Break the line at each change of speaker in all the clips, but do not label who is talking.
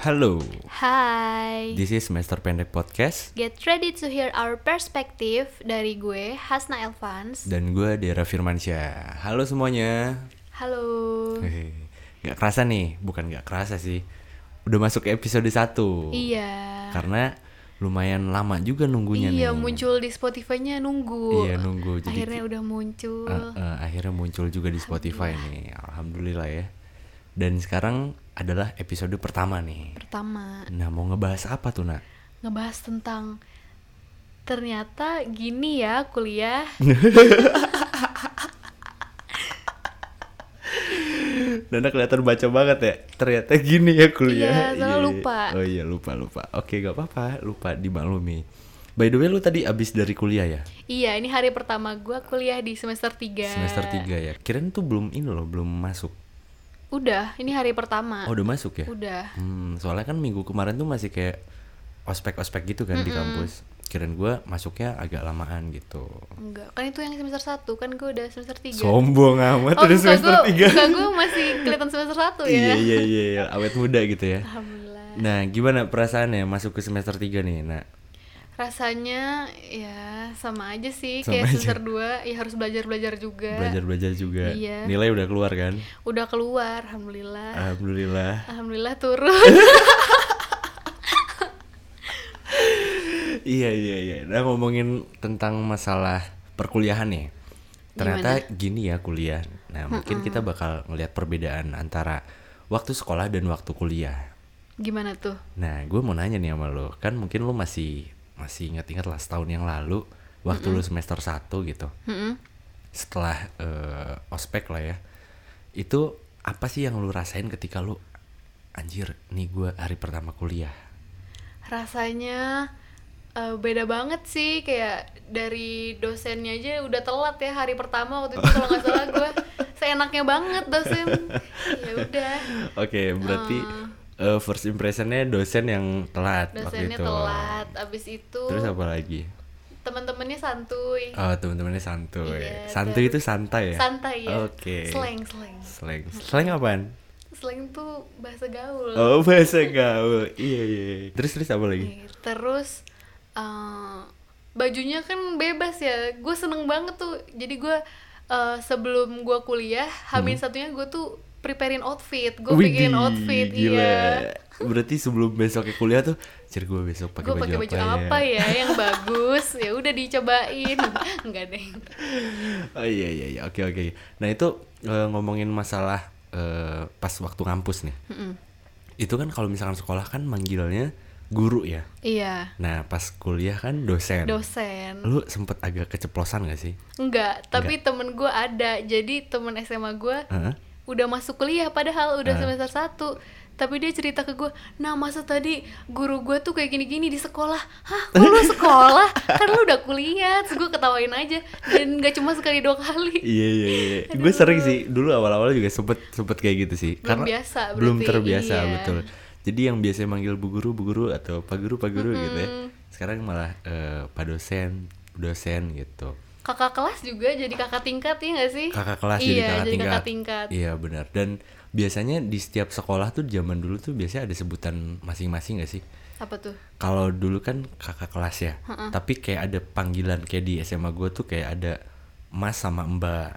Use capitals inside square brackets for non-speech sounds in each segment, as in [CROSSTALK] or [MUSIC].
Halo,
Hai.
this is Semester Pendek Podcast
Get ready to hear our perspective dari gue Hasna Elvans.
dan gue Dera Firmansyah. Halo semuanya.
Halo.
Hehe. Gak kerasa nih, bukan gak kerasa sih. Udah masuk ke episode 1.
Iya.
Karena lumayan lama juga nunggunya nih.
Iya, muncul di Spotify-nya nunggu.
Iya, nunggu. Jadi-
Akhirnya udah muncul.
Eh, eh, akhirnya muncul juga di Spotify nih. Alhamdulillah ya. Dan sekarang adalah episode pertama nih.
Pertama,
Nah, mau ngebahas apa tuh, Nak?
ngebahas tentang ternyata gini ya
[LAUGHS]
kuliah.
Nana kelihatan baca banget ya. Ternyata gini ya kuliah.
Iya, soalnya lupa.
Oh iya, lupa lupa. Oke, gak apa-apa. Lupa dimaklumi. By the way, lu tadi abis dari kuliah ya?
Iya, ini hari pertama gue kuliah di semester 3.
Semester 3 ya. Kirain tuh belum ini loh, belum masuk.
Udah, ini hari pertama.
Oh, udah masuk ya?
Udah.
Hmm, soalnya kan minggu kemarin tuh masih kayak ospek-ospek gitu kan di kampus. Kirain gua masuknya agak lamaan gitu.
Enggak, kan itu yang semester 1, kan gue udah semester 3.
Sombong amat
Oh,
udah
muka
semester
gua-
3.
muka gua masih kelihatan semester 1 ya.
Iya, iya, iya, iya, awet muda gitu
[LAUGHS]
ya.
Alhamdulillah.
Nah, gimana perasaannya masuk ke semester 3 nih, Nak?
Rasanya ya sama aja sih
Sama
kayak
aja.
semester 2 ya harus belajar-belajar juga.
belajar-belajar juga
Iya.
nilai udah keluar kan
Udah keluar,
Ah.
alhamdulillah.
alhamdulillah
Alhamdulillah turun.
[LAUGHS] iya iya iya nah ngomongin tentang masalah perkuliahan nih ternyata gini ya kuliah nah mungkin kita bakal ngelihat perbedaan antara waktu sekolah dan waktu kuliah
Gimana tuh?
nah gue mau nanya nih sama lo kan mungkin lo masih masih ingat-ingat lah setahun yang lalu waktu lo semester 1 gitu
Mm-mm.
setelah eh, ospek lah ya itu apa sih yang lu rasain ketika lu anjir nih gue hari pertama kuliah
Rasanya eh, beda banget sih kayak dari dosennya aja udah telat ya hari pertama waktu itu kalau nggak salah gue seenaknya banget dosen. Ya udah.
oke berarti eh, first impressionnya dosen yang telat waktu
Ah. Dosennya
itu
telat. Abis itu
terus apa lagi
teman-temannya santuy.
oh temen-temennya santuy
Iya,
santuy itu
terus-
santai ya
santai ya
oke
slang slang
slang slang apaan
slang tuh bahasa gaul
oh bahasa gaul iya iya iya. terus terus apa lagi
Nih, terus eh, bajunya kan bebas ya gue seneng banget tuh jadi gue eh, sebelum gue kuliah hamin satunya gue tuh preparein outfit gue bikin
Hmm. Widih,
outfit
gila.
iya
Berarti sebelum besoknya kuliah tuh, cir gue besok pakai
gue
baju,
pakai baju
apa,
apa
ya?
ya yang bagus ya udah dicobain [LAUGHS] enggak deh
Oh iya iya iya, oke oke. Nah itu eh, ngomongin masalah eh, pas waktu ngampus nih.
Mm-mm.
Itu kan kalau misalkan sekolah kan manggilnya guru ya.
iya
Nah pas kuliah kan dosen.
dosen
Lu sempet agak keceplosan gak sih?
enggak tapi temen gue ada jadi temen SMA gue
Heeh.
udah masuk kuliah padahal udah
Ah.
semester 1 tapi dia cerita ke gue nah masa tadi guru gue tuh kayak gini-gini di sekolah hah kok lu sekolah kan lu udah kuliah terus gue ketawain aja dan gak cuma sekali dua kali
Iya iya iya. Gue sering sih dulu awal-awal juga sempet sempet kayak gitu sih.
Belum biasa berarti,
belum terbiasa
iya.
betul. Jadi yang biasanya manggil bu guru bu guru atau pak guru pak guru gitu ya. Sekarang malah eh, pak dosen bu dosen gitu.
kakak kelas juga jadi kakak tingkat ya gak sih
Kakak kelas
iya,
jadi kakak
jadi
tingkat.
kakak tingkat
Iya benar. Dan biasanya di setiap sekolah tuh zaman dulu tuh biasanya ada sebutan masing-masing gak sih?
apa tuh
Kalau dulu kan kakak kelas ya. Tapi kayak ada panggilan kayak di SMA gue tuh kayak ada mas sama mbak.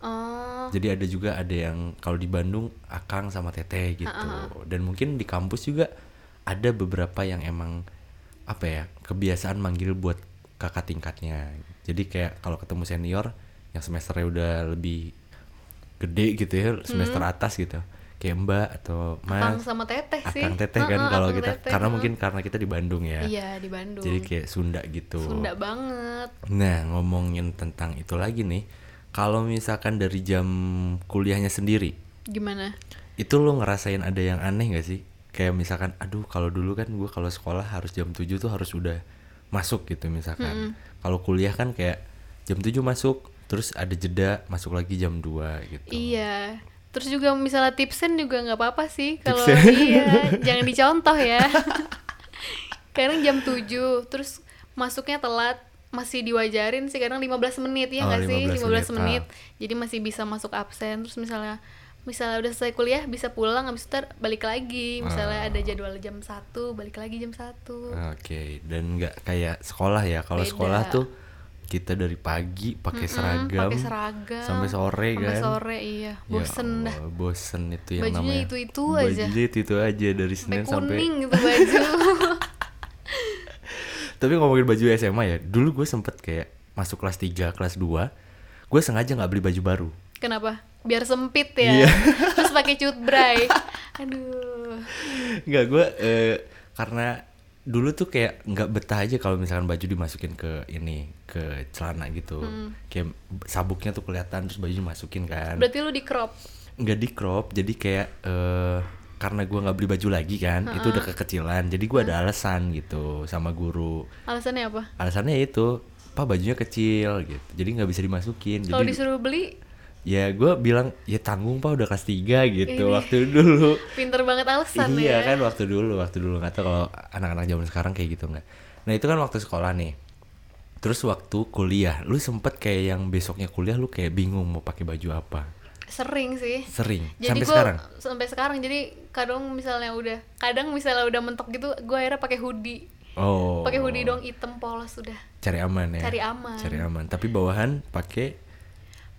oh
Jadi ada juga ada yang kalau di Bandung Akang sama Teteh gitu. Dan mungkin di kampus juga ada beberapa yang emang apa ya, kebiasaan manggil buat kakak tingkatnya. Jadi kayak kalau ketemu senior yang semesternya udah lebih gede gitu ya, semester atas gitu. Kayak Mbak atau
Kang
Mas,
Hmm. Eh, sama teteh sih
Akang Teteh kan
Heeh,
kalau
Akang
kita
Teteh,
karena
heeh.
mungkin karena kita di Bandung ya.
iya di Bandung
Jadi kayak Sunda gitu.
Sunda banget
Nah, ngomongin tentang itu lagi nih. Kalau misalkan dari jam kuliahnya sendiri,
gimana
itu lo ngerasain ada yang aneh gak sih? Kayak misalkan, aduh kalau dulu kan gue kalau sekolah harus jam 7 tuh harus udah masuk gitu misalkan. Kalau kuliah kan kayak jam 7 masuk, terus ada jeda, masuk lagi jam 2 gitu.
Iya. Terus juga misalnya tipsen juga nggak apa-apa sih kalau
Tipsen.
[LAUGHS] iya, jangan dicontoh ya. [LAUGHS] kadang jam 7, terus masuknya telat masih diwajarin sih kadang 15 menit ya
Oh,
nggak sih
15
15 menit.
menit,
Jadi masih bisa masuk absen. Terus misalnya misalnya udah selesai kuliah bisa pulang habis itu ntar balik lagi misalnya
Ah.
ada jadwal jam satu balik lagi jam satu
Oke, dan nggak kayak sekolah ya. Kalau
Beda.
sekolah tuh kita dari pagi pakai seragam,
pakai seragam
sampai sore
sampai
kan.
sore iya
Ya
bosen dah
Allah, Bosen itu yang
Bajunya
namanya.
itu-itu aja.
Bajunya itu-itu aja dari
sampai
Senin sampai.
kuning gitu baju [LAUGHS]
Tapi ngomongin baju SMA ya, dulu gue sempet kayak masuk kelas 3, kelas 2 gue sengaja nggak beli baju baru.
kenapa biar sempit ya
Iya.
[LAUGHS] terus pakai cut
[LAUGHS]
bray aduh
Nggak gue eh, karena dulu tuh kayak nggak betah aja kalau misalkan baju dimasukin ke ini ke celana gitu,
Hmm.
kayak sabuknya tuh kelihatan terus bajunya dimasukin kan.
berarti lu di crop
nggak di crop jadi kayak eh karena gua nggak beli baju lagi kan itu udah kekecilan jadi gua ada alasan gitu sama guru
alasannya apa
alasannya itu pak bajunya kecil gitu jadi nggak bisa dimasukin
kalau
jadi
disuruh beli
ya gua bilang ya tanggung pak udah kelas 3 gitu
Ini.
waktu dulu
pinter banget alasan
iya
ya
kan waktu dulu waktu dulu nggak tahu kalau anak-anak zaman sekarang kayak gitu nggak nah itu kan waktu sekolah nih terus waktu kuliah lu sempet kayak yang besoknya kuliah lu kayak bingung mau pakai baju apa
sering sih
sering
jadi
sampai
gua
sekarang
sampai sekarang jadi kadang misalnya udah kadang misalnya udah mentok gitu gue akhirnya pakai hoodie
oh
pakai hoodie dong hitam polos sudah
cari aman ya
Cari aman.
cari aman tapi bawahan pakai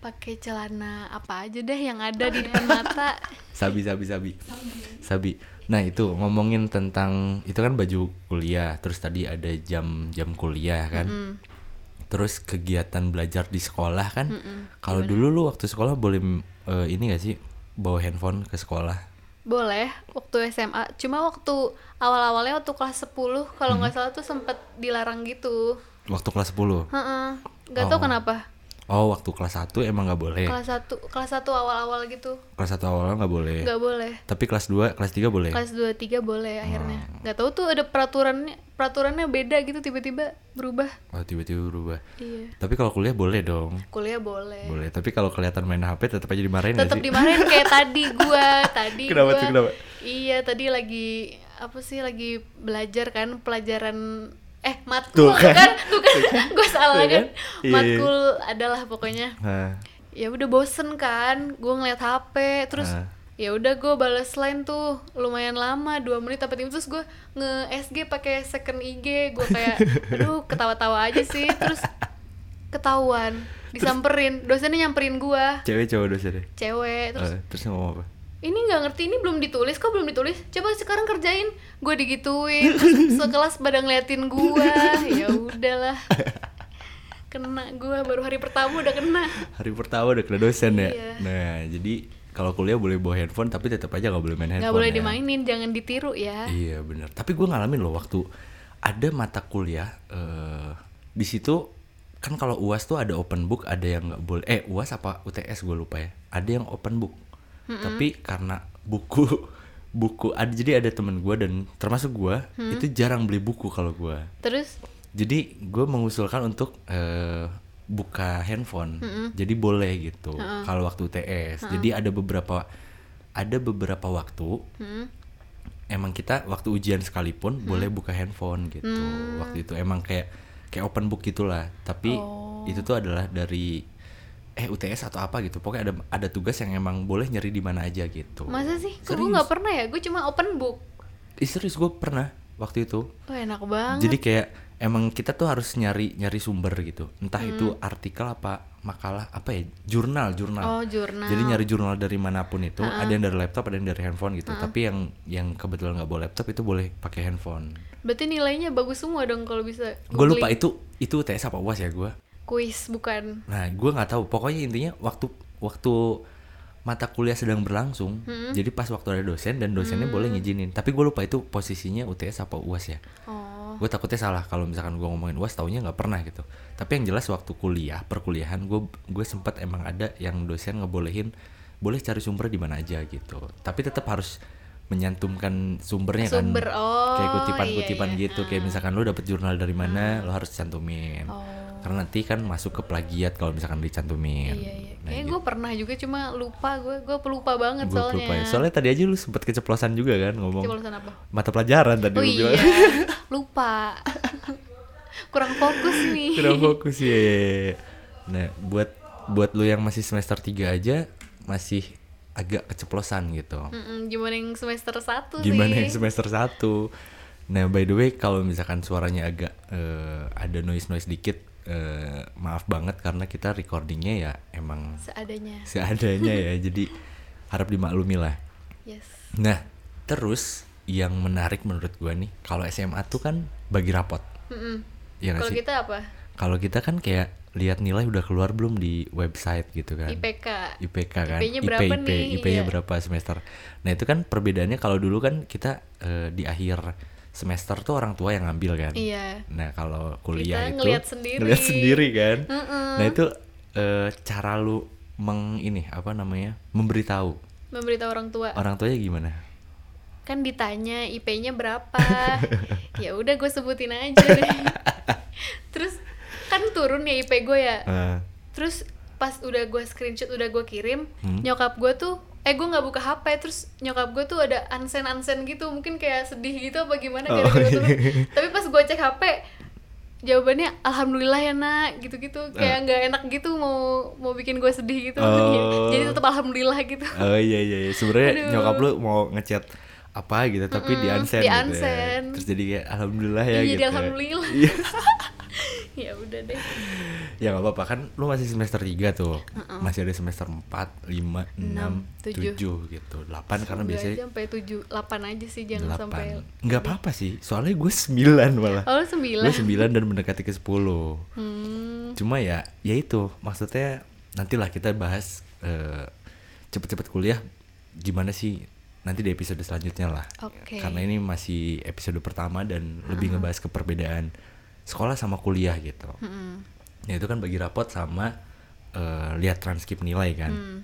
pakai celana apa aja deh yang ada di depan mata
[LAUGHS] sabi sabi sabi sabi nah itu ngomongin tentang itu kan baju kuliah terus tadi ada jam jam kuliah kan terus kegiatan belajar di sekolah kan kalau dulu lu waktu sekolah boleh mm, eh, ini gak sih bawa handphone ke sekolah
boleh waktu SMA cuma waktu awal-awalnya waktu kelas 10 kalau nggak salah tuh sempet dilarang gitu
waktu kelas 10
Heeh. nggak tahu
Oh. iya.
kenapa
oh waktu kelas 1 emang nggak boleh
kelas satu kelas satu awal-awal gitu
kelas 1 awalnya nggak boleh
nggak boleh
tapi kelas 2 kelas 3 boleh
kelas 2 3 boleh akhirnya nggak tahu tuh ada peraturannya peraturannya beda gitu tiba-tiba berubah
oh tiba-tiba berubah
iya
tapi kalau kuliah boleh dong
kuliah boleh
Boleh, tapi kalau kelihatan main HP tetap aja dimarahin nggak
tetap
sih?
dimarahin
[LAUGHS]
kayak tadi gua tadi
Kenapa
gua-
tuh, kenapa?
iya tadi lagi apa sih lagi belajar kan pelajaran eh
Tuh
matkul
kan.
kan [LAUGHS] tuh kan gue salah
Tuh kan.
kan
Iya.
matkul adalah pokoknya
Hah,
ya udah bosen kan gue ngeliat HP terus
Ah.
ya udah gue balas line tuh lumayan lama dua menit apa tiga menit. terus gue nge SG pakai second IG gue
[LAUGHS]
kayak aduh ketawa-tawa aja sih terus ketahuan disamperin dosennya nyamperin gue
cewek cowok dosennya.
cewek terus
Eh, terus ngomong apa?
ini nggak ngerti ini belum ditulis kok belum ditulis coba sekarang kerjain gue
[LAUGHS]
digituin terus sekelas pada ngeliatin gue ya udahlah kena gue baru hari pertama udah kena
Hari pertama udah kena dosen ya.
Iya.
Nah, jadi kalau kuliah boleh bawa handphone tapi tetap aja nggak boleh main handphone.
nggak boleh
ya.
dimainin jangan ditiru ya
Iya benar. Tapi gue ngalamin loh waktu ada mata kuliah eh di situ kan kalau uas tuh ada open book, ada yang nggak boleh. Eh uas apa UTS gue lupa ya. Ada yang open book. Tapi karena buku [LAUGHS] buku ada jadi ada temen gue dan termasuk gue itu jarang beli buku kalau gue.
terus
Jadi gue mengusulkan untuk eh, buka handphone, jadi boleh gitu. Kalau waktu UTS, jadi ada beberapa ada beberapa waktu
hmm,
emang kita waktu ujian sekalipun boleh buka handphone gitu. Waktu itu emang kayak kayak open book gitulah. Tapi itu tuh adalah dari eh UTS atau apa gitu. Pokoknya ada ada tugas yang emang boleh nyari di mana aja gitu.
masa sih gue
Serius.
nggak pernah ya gue cuma open book
Ih, serius gue pernah waktu itu.
Wah enak banget
Jadi kayak emang kita tuh harus nyari nyari sumber gitu. Entah itu artikel apa makalah apa ya jurnal jurnal.
Hmm. oh jurnal
Jadi nyari jurnal dari manapun itu, ada yang dari laptop, ada yang dari handphone gitu. Tapi yang yang kebetulan nggak bawa laptop itu boleh pakai handphone.
berarti nilainya bagus semua dong kalau bisa
Gue
googling.
lupa itu itu UTS apa UAS ya gue.
kuis bukan
Nah, gue nggak tahu. Pokoknya intinya waktu waktu mata kuliah sedang berlangsung,
Hmm.
jadi pas waktu ada dosen dan dosennya boleh ngizinin. Tapi gue lupa itu posisinya UTS apa UAS ya.
oh
Gue takutnya salah kalau misalkan gue ngomongin UAS taunya nggak pernah gitu. Tapi yang jelas waktu kuliah, perkuliahan gue gue sempat emang ada yang dosen ngebolehin boleh cari sumber di mana aja gitu. Tapi tetap harus menyantumkan sumbernya
Sumber,
kan.
oh,
kayak
iya,
kutipan-kutipan
iya. Ah.
gitu. Kayak misalkan lu dapet jurnal dari mana, lo harus cantumin.
Oh.
Karena nanti kan masuk ke plagiat kalau misalkan dicantumin.
iya iya
Nah,
kayaknya
gitu.
gue pernah juga cuma lupa gue gue pelupa banget
Gua
soalnya
lupa ya. Soalnya tadi aja lu sempat keceplosan juga kan ngomong
Keceplosan apa?
mata pelajaran tadi
oh
lu
iya
bilang.
[LAUGHS] lupa [LAUGHS] kurang fokus nih [LAUGHS]
Kurang fokus ya. Nah, buat buat lu yang masih semester 3 aja masih agak keceplosan gitu
Mm-mm, gimana yang semester 1
gimana
sih?
yang semester 1 nah by the way kalau misalkan suaranya agak eh, ada noise noise dikit eh, maaf banget karena kita recordingnya ya
[LAUGHS]
emang
Seadanya.
seadanya ya jadi harap dimaklumi lah
Yes.
nah terus yang menarik menurut gua nih kalau SMA tuh kan bagi rapot
Mm-mm.
ya nggak
Kalau
sih?
kita apa?
kalau kita kan kayak lihat nilai udah keluar belum di website gitu kan
IPK.
IPK kan
IP-nya berapa
IP,
nih?
IP-nya
Iya.
berapa semester nah itu kan perbedaannya kalau dulu kan kita eh, di akhir semester tuh orang tua yang ngambil kan
Iya.
nah kalau kuliah
Kita
itu
ngeliat sendiri.
ngeliat sendiri kan
Mm-mm.
nah itu eh, cara lu meng ini apa namanya memberitahu
Memberitahu orang tua.
orang tuanya gimana
Kan ditanya IP-nya
[LAUGHS]
berapa. ya udah gue sebutin aja deh. Terus kan turun ya IP gue ya.
Eh,
Terus pas udah gue screenshot udah gue kirim,
Hmm.
nyokap gue tuh eh gue nggak buka HP terus nyokap gue tuh ada ansen ansen gitu mungkin kayak sedih gitu apa gimana
Oh,
gara-gara
iya. [LAUGHS]
turun. tapi pas gue cek HP jawabannya alhamdulillah ya nak gitu-gitu
Ah.
kayak nggak enak gitu mau mau bikin gue sedih gitu
Oh.
[LAUGHS] jadi tetap alhamdulillah gitu [LAUGHS]
oh iya iya iya. sebenarnya
Aduh.
nyokap lu mau ngechat apa gitu tapi di
Mm-mm,
unsend
di
gitu ya.
unsend.
terus jadi kayak alhamdulillah ya
Iya,
gitu
jadi alhamdulillah.
Iya.
ya udah deh
ya nggak apa-apa kan lu masih semester 3 tuh masih ada semester 4, 5, 6,
tujuh.
7 gitu 8 karena
Nggak
biasanya
aja sampai tujuh delapan aja sih jangan sampai
8 nggak apa-apa sih soalnya gue 9 malah
oh lu
gue
sembilan
9 dan mendekati ke 10
hmm,
cuma ya ya itu maksudnya nantilah kita bahas eh, cepet-cepet kuliah gimana sih nanti di episode selanjutnya lah
Oke.
karena ini masih episode pertama dan lebih ngebahas ke perbedaan sekolah sama kuliah gitu
hmm.
ya itu kan bagi rapot sama eh, lihat transkrip nilai kan
Hmm.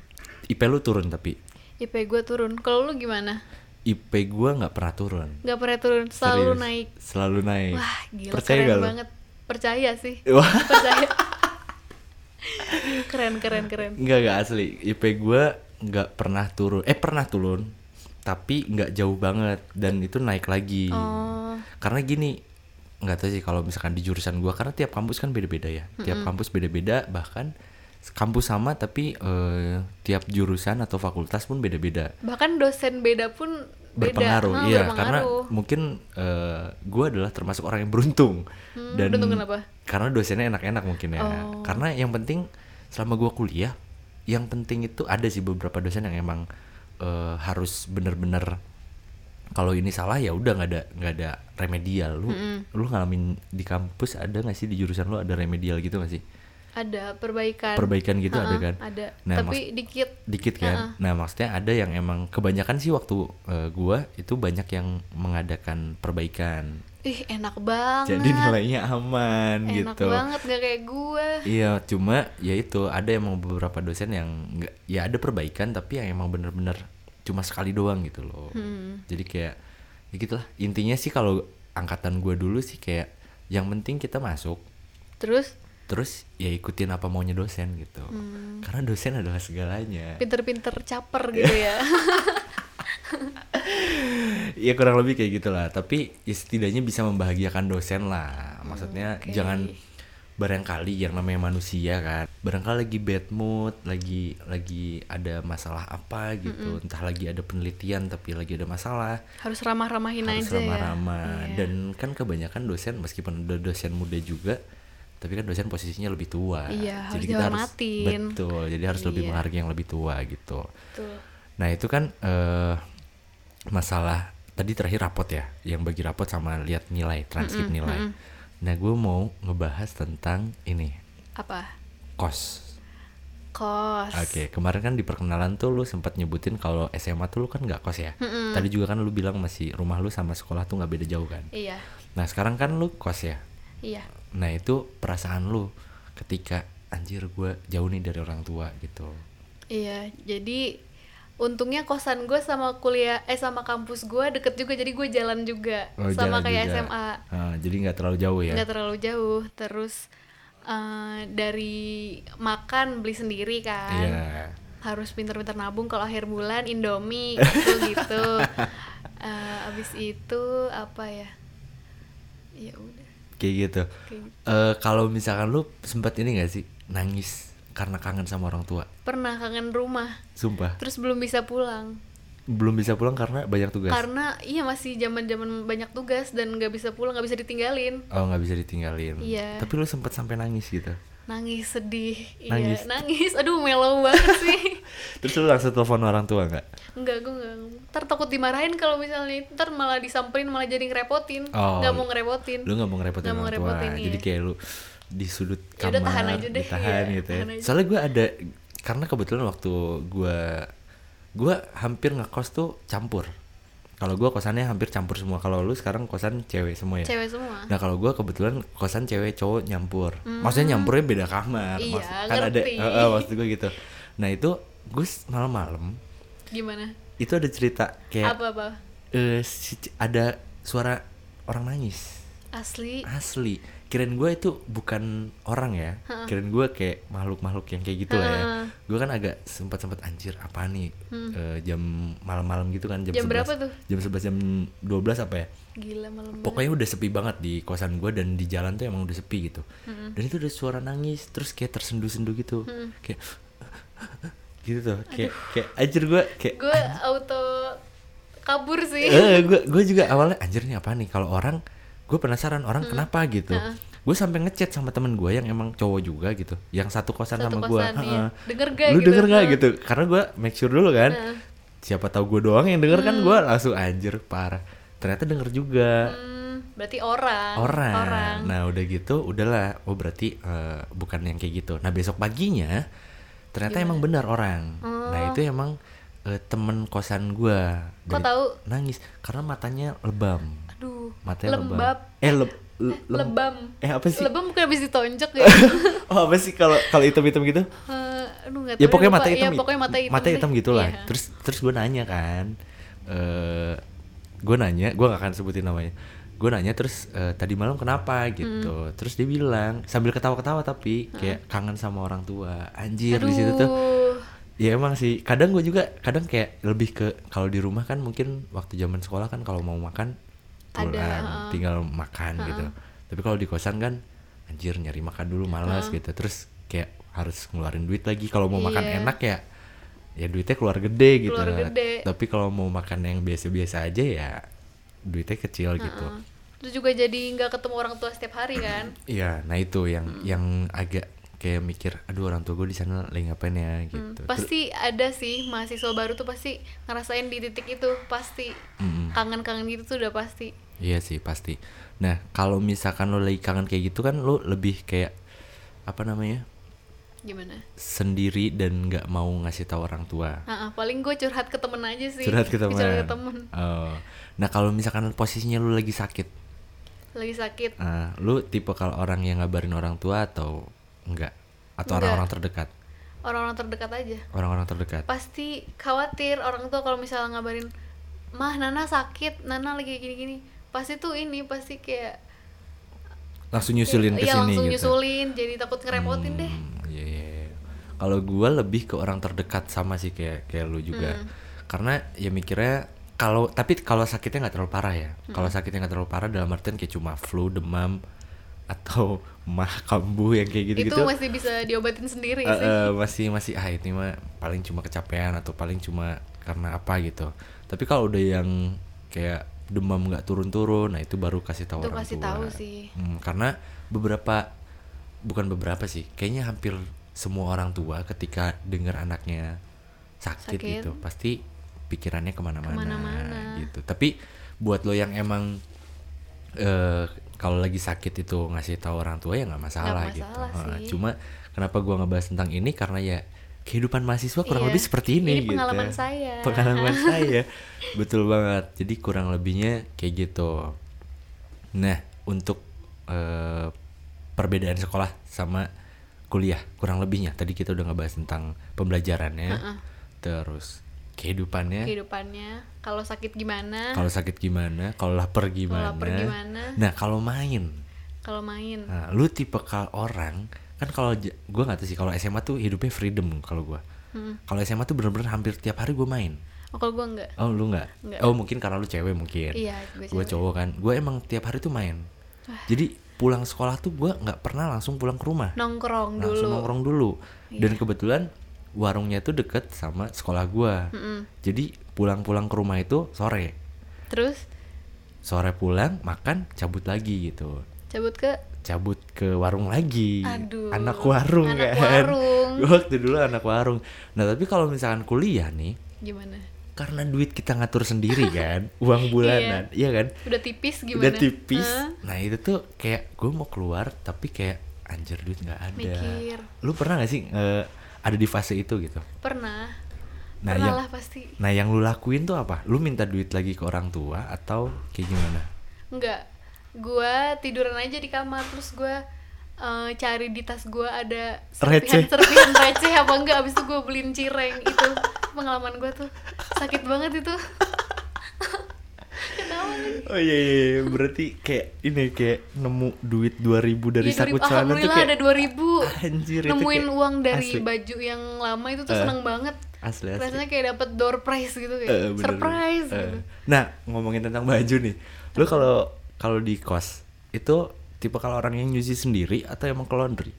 IP lu turun tapi
IP gue turun kalau lu gimana
IP gua nggak pernah turun
nggak pernah turun selalu
Serius.
naik
selalu naik
wah gila
Iya. percaya
keren
nggak lu?
banget percaya sih
wah [LAUGHS]
percaya keren keren keren
Enggak enggak asli. IP gua nggak pernah turun. Eh pernah turun, tapi nggak jauh banget dan itu naik lagi.
Oh.
Karena gini, nggak tahu sih kalau misalkan di jurusan gua karena tiap kampus kan beda-beda ya. Tiap kampus beda-beda bahkan kampus sama tapi eh, tiap jurusan atau fakultas pun beda-beda.
bahkan dosen beda pun beda
Berpengaruh,
Ah,
iya
berpengaruh.
karena mungkin eh, gua adalah termasuk orang yang beruntung
Hmm,
dan
beruntung kenapa?
karena dosennya enak-enak mungkin ya.
Oh.
Karena yang penting selama gua kuliah, yang penting itu ada sih beberapa dosen yang emang eh, harus bener-bener kalau ini salah ya udah nggak ada nggak ada remedial. Lu lu ngalamin di kampus ada nggak sih di jurusan lu ada remedial gitu nggak sih?
ada perbaikan
Perbaikan gitu ada
Ha-ha,
kan?
ada
Nah,
tapi dikit
dikit kan. Nah, maksudnya ada yang emang kebanyakan sih waktu eh, gua itu banyak yang mengadakan perbaikan.
ih enak banget
Jadi nilainya aman
enak
gitu.
banget gak kayak gue
Iya, cuma ya itu ada emang beberapa dosen yang nggak ya ada perbaikan tapi yang emang bener-bener cuma sekali doang gitu loh. Jadi kayak ya gitulah. Intinya sih kalau angkatan gua dulu sih kayak yang penting kita masuk
terus
terus ya ikutin apa maunya dosen gitu. Karena dosen adalah segalanya.
pinter-pinter caper gitu
[LAUGHS]
ya
Iya kurang lebih kayak gitulah. Tapi ya setidaknya bisa membahagiakan dosen lah. Maksudnya
Hmm, Oke.
jangan barangkali yang namanya manusia kan. Barangkali lagi bad mood, lagi lagi ada masalah apa gitu. Entah lagi ada penelitian tapi lagi ada masalah.
harus ramah-ramahin
harus
aja
ramah-ramah.
ya Iya.
Dan kan kebanyakan dosen meskipun ada dosen muda juga tapi kan dosen posisinya lebih tua.
Iya, harus dihormatin.
betul. Jadi harus lebih
Iya.
menghargai yang lebih tua gitu.
Tuh.
Nah itu kan eh masalah tadi terakhir rapot ya, yang bagi rapot sama lihat nilai, transkrip nilai. Nah gue mau ngebahas tentang ini
apa
kos.
kos
Oke kemarin kan di perkenalan tuh lu sempat nyebutin kalau SMA tuh lu kan nggak kos ya. Tadi juga kan lu bilang masih rumah lu sama sekolah tuh nggak beda jauh kan.
iya
Nah sekarang kan lu kos ya.
iya
Nah itu perasaan lu ketika anjir gue jauh nih dari orang tua gitu.
Iya, jadi untungnya kosan gue sama kuliah eh sama kampus gue deket juga, jadi gue jalan juga
Oh,
sama
jalan
kayak
juga.
SMA,
Ah, jadi nggak terlalu jauh ya.
nggak terlalu jauh. Terus eh, dari makan beli sendiri kan,
Iya.
harus pinter-pinter nabung kalau akhir bulan
[LAUGHS]
Indomie gitu gitu. Eh, abis itu apa ya? Ya udah.
kayak gitu.
Kayak
Eh, kalau misalkan lu sempat ini gak sih nangis karena kangen sama orang tua
Pernah kangen rumah,
sumpah
terus belum bisa pulang.
belum bisa pulang karena banyak tugas
Karena iya masih zaman-zaman banyak tugas dan nggak bisa pulang, nggak bisa ditinggalin.
oh nggak bisa ditinggalin
Iya.
tapi lu sempet sampai nangis gitu
Nangis sedih,
Nangis.
iya nangis. Aduh mellow banget sih. [LAUGHS]
terus lu langsung telepon orang tua nggak
Enggak, gue enggak. Ntar takut dimarahin kalau misalnya ntar malah disamperin malah jadi ngerepotin.
Oh.
Nggak mau ngerepotin.
lu nggak mau ngerepotin
Nggak mau
orang tua
ngerepotin, iya.
jadi kayak lu di sudut
Ya
kamar
udah, tahan aja deh,
ditahan
iya,
gitu ya
tahan aja.
soalnya gue ada karena kebetulan waktu gue gue hampir ngekos tuh campur kalau gue kosannya hampir campur semua kalau lu sekarang kosan cewek semua ya
Cewek semua.
Nah kalau gue kebetulan kosan cewek cowok nyampur, maksudnya nyampurnya beda kamar,
Hmm. Iya,
Maksud- kan ada,
ngerti.
Eh, eh, maksud gue gitu. Nah itu gue s- malam-malam
Gimana?
itu ada cerita kayak
Apa-apa?
eh, si c- ada suara orang nangis
Asli.
asli. Kirain gue itu bukan orang ya, kirain gue kayak makhluk-makhluk yang kayak gitu lah ya.
Ha.
Gue kan agak sempat-sempat anjir apa nih eh, jam malam-malam gitu kan jam,
Hmm. Jam berapa
11,
tuh?
Jam 11 jam 12 apa ya?
Gila malam banget.
pokoknya udah sepi banget di kosan gue dan di jalan tuh emang udah sepi gitu dan itu ada suara nangis terus kayak tersendu-sendu gitu kayak [LAUGHS] gitu tuh kayak kayak anjir gue kayak
Gue auto kabur sih.
eh gue gue juga awalnya anjir nih apa nih kalau orang gue penasaran orang kenapa gitu gue sampai ngechat sama temen gue yang emang cowok juga gitu yang satu kosan
Satu
sama gue
kosan, iya. Denger gak
lu
gitu?
denger gak
Heeh.
gitu karena gue make sure dulu kan siapa tahu gue doang yang denger kan gue langsung anjir parah ternyata denger juga
Hmm, berarti orang.
orang.
Orang.
Nah udah gitu, udahlah. Oh berarti eh, bukan yang kayak gitu. Nah besok paginya ternyata emang benar orang. Nah itu emang eh, temen kosan gua.
Oh. Kok
Dari-
tahu?
Nangis karena matanya lebam.
Aduh.
Matanya
lembab.
lebam. Eh leb- le- lem-
Lebam.
Eh apa sih?
Lebam bukan habis ditonjok ya?
[LAUGHS] oh apa sih kalau kalau hitam-hitam gitu?
Eh, aduh, nggak
ya
tahu
pokoknya
lupa.
mata hitam
Ya, pokoknya mata hitam. deh.
gitu lah
Iya.
terus terus gue nanya kan eh gue nanya gue gak akan sebutin namanya gue nanya terus eh, tadi malam kenapa gitu
Hmm.
terus dia bilang sambil ketawa-ketawa tapi kayak kangen sama orang tua anjir di situ tuh
Aduh.
ya emang sih kadang gue juga kadang kayak lebih ke kalau di rumah kan mungkin waktu zaman sekolah kan kalau mau makan
Ada,
pulang
heeh.
tinggal makan gitu tapi kalau di kosan kan anjir nyari makan dulu
Iya.
malas gitu terus kayak harus ngeluarin duit lagi kalau mau makan
Iya.
enak ya ya duitnya keluar gede gitu
Keluar
lah.
gede.
tapi kalau mau makan yang biasa-biasa aja ya duitnya kecil gitu
Heeh. Terus juga jadi nggak ketemu orang tua setiap hari kan?
Iya, nah itu yang
Hmm.
yang agak kayak mikir, aduh orang tua gue di sana lagi ngapain ya
Hmm.
gitu. Terus-
pasti ada sih mahasiswa baru tuh pasti ngerasain di titik itu pasti kangen-kangen gitu tuh udah pasti
Iya sih pasti. Nah kalau misalkan lo lagi kangen kayak gitu kan lo lebih kayak apa namanya
gimana
sendiri dan nggak mau ngasih tahu orang tua.
Ah, ah, paling gue curhat ke temen aja sih
Curhat ke teman.
Curhat ke temen.
Oh. Nah kalau misalkan posisinya lo lagi sakit,
lagi sakit
Nah lo tipe kalau orang yang ngabarin orang tua atau enggak? Atau
Nggak.
orang-orang terdekat?
orang-orang terdekat aja
Orang-orang terdekat.
pasti khawatir orang tua kalau misalnya ngabarin mah Nana sakit Nana lagi gini-gini pasti tuh ini pasti kayak
Langsung nyusulin ke sini
iya langsung
gitu.
nyusulin jadi takut ngerepotin deh
Hmm, Iya. iya, iya. Kalau gue lebih ke orang terdekat sama sih kayak kayak lu juga.
Hmm.
Karena ya mikirnya kalau tapi kalau sakitnya nggak terlalu parah ya.
Hmm.
Kalau sakitnya nggak terlalu parah dalam artian kayak cuma flu, demam atau [LAUGHS] mah kambuh yang kayak
itu
gitu-gitu.
masih bisa diobatin
Eh,
sendiri sih
eh, masih masih ah ini mah paling cuma kecapean atau paling cuma karena apa gitu. Tapi kalau udah yang kayak demam nggak turun-turun, nah itu baru kasih tahu
Itu
orang
kasih
tua.
tahu sih.
Hmm, karena beberapa bukan beberapa sih, kayaknya hampir semua orang tua ketika dengar anaknya sakit,
Sakit.
gitu pasti pikirannya kemana-mana,
Kemana-mana.
gitu. Tapi buat lo yang emang eh kalau lagi sakit itu ngasih tahu orang tua ya nggak masalah,
Nggak
gitu.
masalah
Heeh,
sih.
Cuma kenapa gua ngebahas tentang ini karena ya kehidupan mahasiswa kurang
Iya.
lebih seperti ini,
Ini
gitu.
pengalaman saya. [LAUGHS]
Pengalaman saya. Betul banget. Jadi kurang lebihnya kayak gitu. Nah, untuk eh, perbedaan sekolah sama kuliah kurang lebihnya tadi kita udah ngebahas tentang pembelajarannya. Terus kehidupannya
kehidupannya kalau sakit gimana
kalau sakit gimana, kalau lapar gimana.
lapar gimana.
Nah, kalau main.
kalau main
Nah, lu tipe kal orang kan kalau j- gua nggak tahu sih kalau SMA tuh hidupnya freedom kalau gua.
Hmm.
Kalau SMA tuh bener-bener hampir tiap hari gua main.
oh, kalau gue enggak
Oh, lu nggak?
Nggak.
Oh, mungkin karena lu cewek mungkin.
Iya, gue
Gua
cewek.
cowok kan. Gua emang tiap hari tuh main. Jadi pulang sekolah tuh gua nggak pernah langsung pulang ke rumah
nongkrong dulu Iya.
langsung nongkrong dulu dan kebetulan warungnya tuh deket sama sekolah gua jadi pulang-pulang ke rumah itu sore
terus
sore pulang makan cabut lagi gitu
cabut ke
cabut ke warung lagi
Aduh,
anak warung kan
anak warung.
[LAUGHS] Gua waktu dulu anak warung nah tapi kalau misalkan kuliah nih
gimana
karena duit kita ngatur
[LAUGHS]
sendiri kan uang bulanan iya kan
udah tipis
udah
gimana
tipis
Hah?
nah itu tuh kayak gue mau keluar tapi kayak anjir duit nggak ada
Mikir.
lu pernah gak sih eh, ada di fase itu gitu
pernah
Nah,
pernah
yang-
lah pasti
nah yang lu lakuin tuh apa lu minta duit lagi ke orang tua atau kayak gimana
Enggak, gua tiduran aja di kamar terus gua eh, cari di tas gua ada
Receh.
serpihan serpihan [LAUGHS] receh apa enggak abis itu gua beliin cireng itu pengalaman gua tuh sakit banget itu [LAUGHS] kenapa nih?
oh iya, iya, iya. berarti kayak ini kayak nemu duit 2000 dari
Ya,
saku
dua
celana
ribu-
tuh
alhamdulillah
kayak
ada 2000
Anjir, itu
nemuin
kayak
uang dari
asli.
baju yang lama itu tuh
Eh,
seneng banget
asli asli
rasanya kayak dapet door prize gitu kayak
Eh, bener.
surprise
Eh.
gitu
Nah, ngomongin tentang baju nih. Lu kalau kalau di kos itu tipe kalau orang yang nyuci sendiri atau emang ke laundry?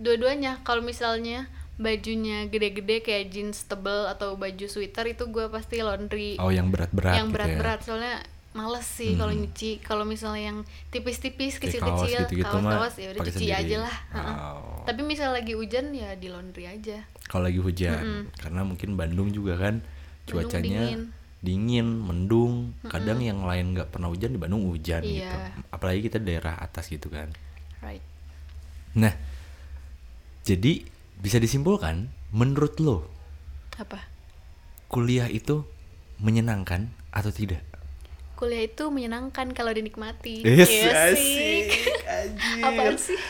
dua-duanya kalau misalnya bajunya gede-gede kayak jeans tebel atau baju sweater itu gue pasti laundry
Oh, yang berat-berat
yang
gitu ya. Hmm.
berat-berat soalnya males sih kalau nyuci kalau misalnya yang tipis-tipis
Kayak
kecil-kecil
kaos gitu-gitu mah
kawas-kawas ya udah
pakai
cuci
sendiri.
aja lah Heeh.
Oh.
tapi misal lagi hujan ya di laundry aja
Kalau lagi hujan, karena mungkin Bandung juga kan
Bandung
cuacanya dingin. mendung, kadang yang lain nggak pernah hujan di Bandung hujan
Iya.
gitu. Apalagi kita daerah atas gitu kan.
right
Nah, jadi bisa disimpulkan menurut lo
apa
kuliah itu menyenangkan atau tidak?
kuliah itu menyenangkan kalau dinikmati
Yes,
Iya
asik,
sih.
anjir.
apaan sih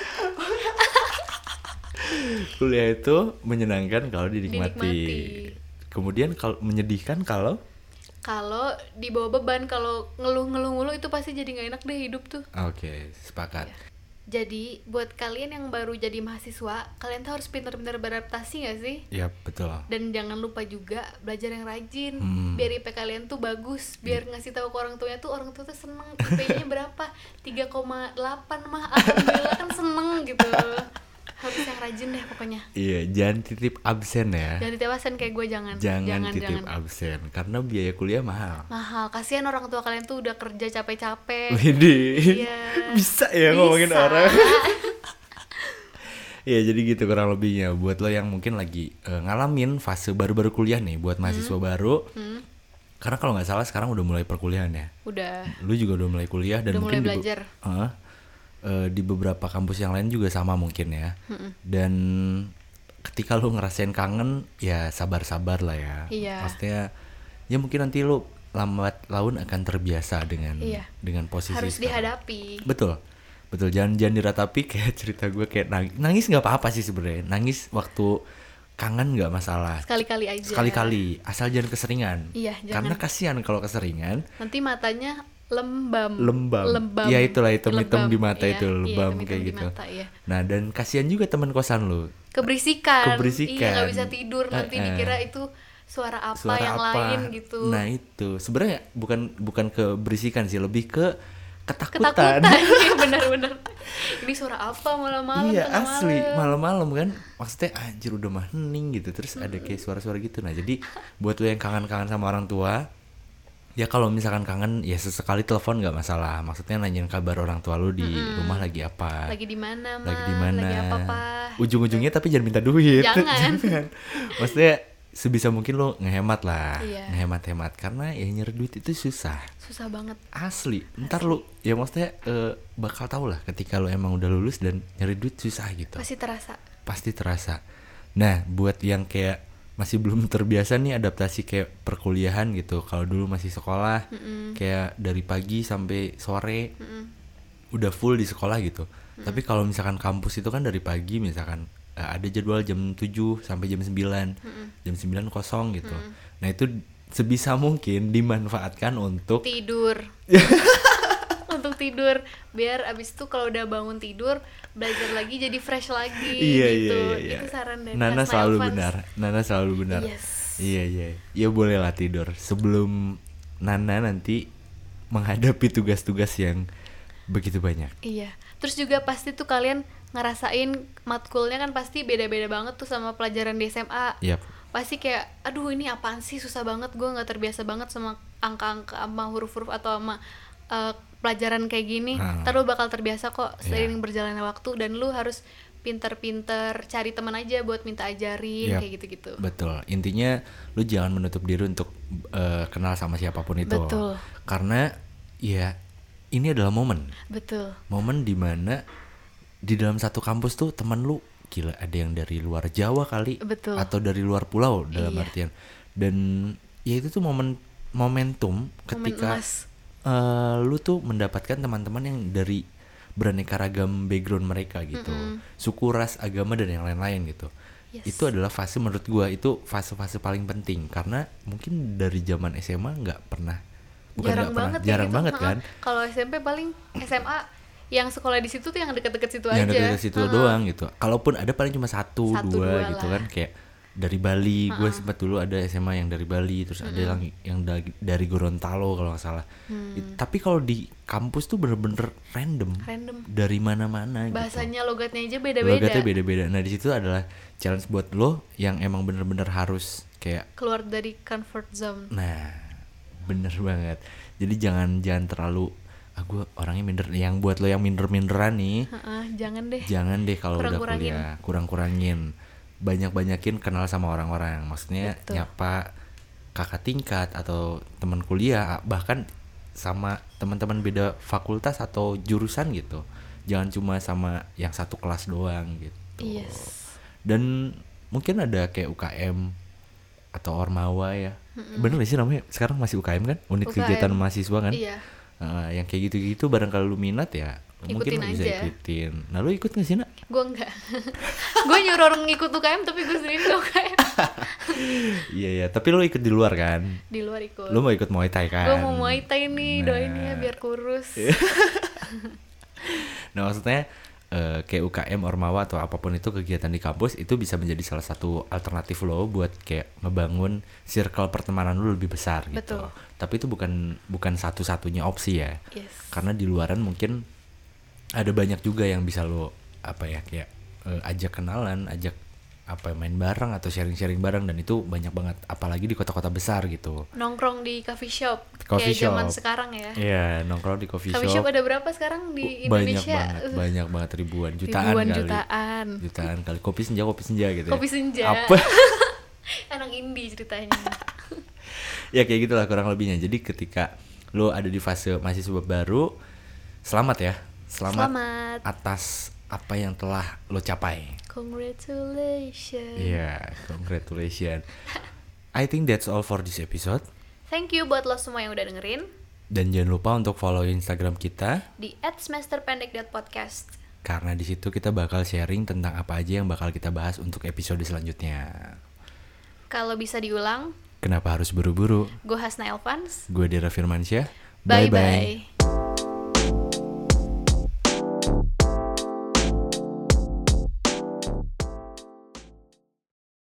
Kuliah itu menyenangkan kalau dinikmati.
Dinikmati.
Kemudian kalau menyedihkan kalau
kalau dibawa beban kalau ngeluh-ngeluh mulu itu pasti jadi nggak enak deh hidup tuh
Oke, sepakat.
Jadi, buat kalian yang baru jadi mahasiswa, kalian tuh harus pintar-pintar beradaptasi gak sih?
Ya, betul.
Dan jangan lupa juga belajar yang rajin,
Hmm.
biar IP kalian tuh bagus, biar ngasih tahu ke orang tuanya tuh orang tua tuh seneng IP-nya berapa? 3,8 mah alhamdulillah kan seneng gitu. Harus yang rajin deh pokoknya.
Iya, jangan titip absen ya.
Jangan ditewasin kayak gue jangan.
Jangan, titip absen karena biaya kuliah mahal.
Mahal, kasihan orang tua kalian tuh udah kerja capek-capek.
Widih.
Iya.
[LAUGHS] Bisa ya ngomongin
Bisa.
orang. Iya, jadi gitu kurang lebihnya buat lo yang mungkin lagi eh, ngalamin fase baru-baru kuliah nih buat
Hmm.
mahasiswa baru. Karena kalau nggak salah sekarang udah mulai perkuliahan ya.
[LAUGHS] Udah.
lu juga udah mulai kuliah dan
Udah
mungkin di be-
mulai belajar.
Heeh. Eh, di beberapa kampus yang lain juga sama mungkin ya
Hmm.
dan ketika lu ngerasain kangen ya sabar-sabar lah ya
Iya.
maksudnya ya mungkin nanti lu lambat laun akan terbiasa dengan
Iya.
dengan posisi
Harus
sekarang.
dihadapi.
betul betul jangan jangan diratapi [LAUGHS] kayak cerita gue kayak nangis nangis nggak apa-apa sih sebenarnya nangis waktu kangen nggak masalah
Sekali-kali aja.
sekali-kali asal jangan keseringan
Iya, jangan.
karena kasihan kalau keseringan
nanti matanya lembam
lembam. Ya itulah hitam-hitam di mata itu lembam
hitam-hitam
kayak
di
gitu.
mata, iya.
Nah, dan kasihan juga teman kosan lu.
keberisikan
Keberisikan.
iya nggak bisa tidur
Eh,
nanti
eh.
dikira itu suara apa
Suara
yang
apa?
lain gitu
Nah, itu. Sebenarnya bukan bukan keberisikan sih, lebih ke ketakutan.
ketakutan [LAUGHS] iya benar-benar ini suara apa malam-malam
iya,
tengah
asli.
malam.
Malam-malam kan maksudnya anjir udah mah hening gitu. Terus ada kayak suara-suara gitu. Nah, jadi buat lu yang kangen-kangen sama orang tua, ya kalau misalkan kangen ya sesekali telepon nggak masalah. Maksudnya nanyain kabar orang tua lu di rumah lagi apa.
lagi di mana Ma?
lagi di mana
lagi apa apa
ujung-ujungnya tapi jangan minta duit
Jangan.
[LAUGHS] maksudnya sebisa mungkin lo ngehemat lah
Iya.
ngehemat-hemat karena ya nyari duit itu susah
susah banget
asli ntar lo ya maksudnya eh, bakal tau lah ketika lo emang udah lulus dan nyari duit susah gitu
pasti terasa
pasti terasa nah buat yang kayak masih belum [LAUGHS] terbiasa nih adaptasi kayak perkuliahan gitu kalau dulu masih sekolah kayak dari pagi sampai sore udah full di sekolah gitu. Tapi kalau misalkan kampus itu kan dari pagi misalkan eh, ada jadwal jam 7 sampai jam 9. Jam 9 kosong gitu. Nah, itu sebisa mungkin dimanfaatkan untuk [LAUGHS]
tidur untuk tidur biar abis itu kalau udah bangun tidur belajar lagi jadi fresh lagi
Iya,
gitu itu saran dari
Nana
Mas
selalu
Mailvan.
benar. Nana selalu benar.
Yes.
Iya, iya. Ya bolehlah tidur sebelum Nana nanti menghadapi tugas-tugas yang begitu banyak
Iya. Terus juga pasti tuh kalian ngerasain matkulnya kan pasti beda-beda banget tuh sama pelajaran di SMA.
Yap.
Pasti kayak, aduh ini apaan sih susah banget gue nggak terbiasa banget sama angka-angka sama huruf-huruf atau sama eh, pelajaran kayak gini.
Hmm.
Ntar lu bakal terbiasa kok
Iya.
seiring berjalannya waktu dan lu harus pinter-pinter cari teman aja buat minta ajarin
Yap.
Iya, kayak gitu-gitu.
Betul. Intinya lu jangan menutup diri untuk eh, kenal sama siapapun itu.
Betul.
Karena ya ini adalah momen.
Betul.
Momen dimana di dalam satu kampus tuh teman lu gila ada yang dari luar Jawa kali
Betul.
atau dari luar pulau dalam
Iya.
artian. Dan ya itu tuh momen momentum ketika
emas.
eh, lu tuh mendapatkan teman-teman yang dari beraneka ragam background mereka gitu. Suku, ras, agama dan yang lain-lain gitu
Yes.
itu adalah fase menurut gua itu fase-fase paling penting karena mungkin dari zaman SMA nggak pernah bukan
jarang
nggak pernah
banget ya
jarang
gitu.
banget
Ha-ha.
kan
kalau SMP paling SMA yang sekolah di situ tuh yang deket-deket situ
yang
aja
dari situ doang gitu kalaupun ada paling cuma satu,
Satu,
dua,
dua
gitu
lah.
kan kayak dari Bali gue sempat dulu ada SMA yang dari Bali terus ada yang yang da- dari Gorontalo kalau nggak salah It- tapi kalau di kampus tuh bener-bener random,
Hmm. Random.
dari mana-mana gitu
bahasanya logatnya aja beda-beda
logatnya beda-beda nah di situ adalah challenge buat lo yang emang bener-bener harus kayak
keluar dari comfort zone
Nah, bener banget. Jadi jangan jangan terlalu ah gue orangnya minder yang buat lo yang minder-minderan nih.
Ha-ha, jangan deh
Jangan deh kalau udah
Kurang-kurangin.
kuliah, kurang-kurangin. Banyak-banyakin kenal sama orang-orang. Maksudnya
Betul.
nyapa kakak tingkat atau teman kuliah bahkan sama teman-teman beda fakultas atau jurusan gitu. Jangan cuma sama yang satu kelas doang gitu.
yes
Dan mungkin ada kayak UKM atau Ormawa ya. Bener gak sih namanya? Sekarang masih UKM kan? Unit
UKM.
kegiatan mahasiswa kan?
iya
Eh, yang kayak gitu-gitu barangkali lu minat ya. mungkin
Ikutin
lu bisa
aja.
ikutin. Nah, lu ikut gak sih, Nak?
gue enggak [LAUGHS] gue nyuruh orang ngikut UKM tapi gue sendiri nggak UKM
Iya, ya. Tapi lu ikut di luar kan?
di luar ikut
Lu mau ikut Muay Thai kan? Iya.
gue mau muay thai nih doain
Nah.
ya biar kurus
Nah, maksudnya eh, kayak UKM, Ormawa atau apapun itu kegiatan di kampus itu bisa menjadi salah satu alternatif lo buat kayak ngebangun circle pertemanan lu lebih besar gitu.
Betul.
Tapi itu bukan bukan satu-satunya opsi ya.
yes
karena di luaran mungkin ada banyak juga yang bisa lo apa ya kayak eh, ajak kenalan ajak apa ya, main bareng atau sharing-sharing bareng dan itu banyak banget apalagi di kota-kota besar gitu
nongkrong di coffee shop
Coffee
kayak zaman
shop.
sekarang ya
Iya nongkrong di coffee,
coffee
shop,
shop ada berapa sekarang di
banyak
Indonesia Uh,
banget banyak banget ribuan jutaan
ribuan
kali
jutaan
jutaan kali kopi senja kopi senja gitu ya.
kopi senja [LAUGHS]
apa [LAUGHS]
anak indie ceritanya
ya kayak gitulah kurang lebihnya jadi ketika lo ada di fase mahasiswa baru selamat ya selamat,
selamat
atas apa yang telah lo capai
congratulations
Iya, congratulations. I think that's all for this episode.
thank you buat lo semua yang udah dengerin
Dan jangan lupa untuk follow Instagram kita
di @semesterpendek.podcast
karena di situ kita bakal sharing tentang apa aja yang bakal kita bahas untuk episode selanjutnya.
kalau bisa diulang
Kenapa harus buru-buru?
gue Hasna Elvans
Gue Dera Firmansyah.
bye bye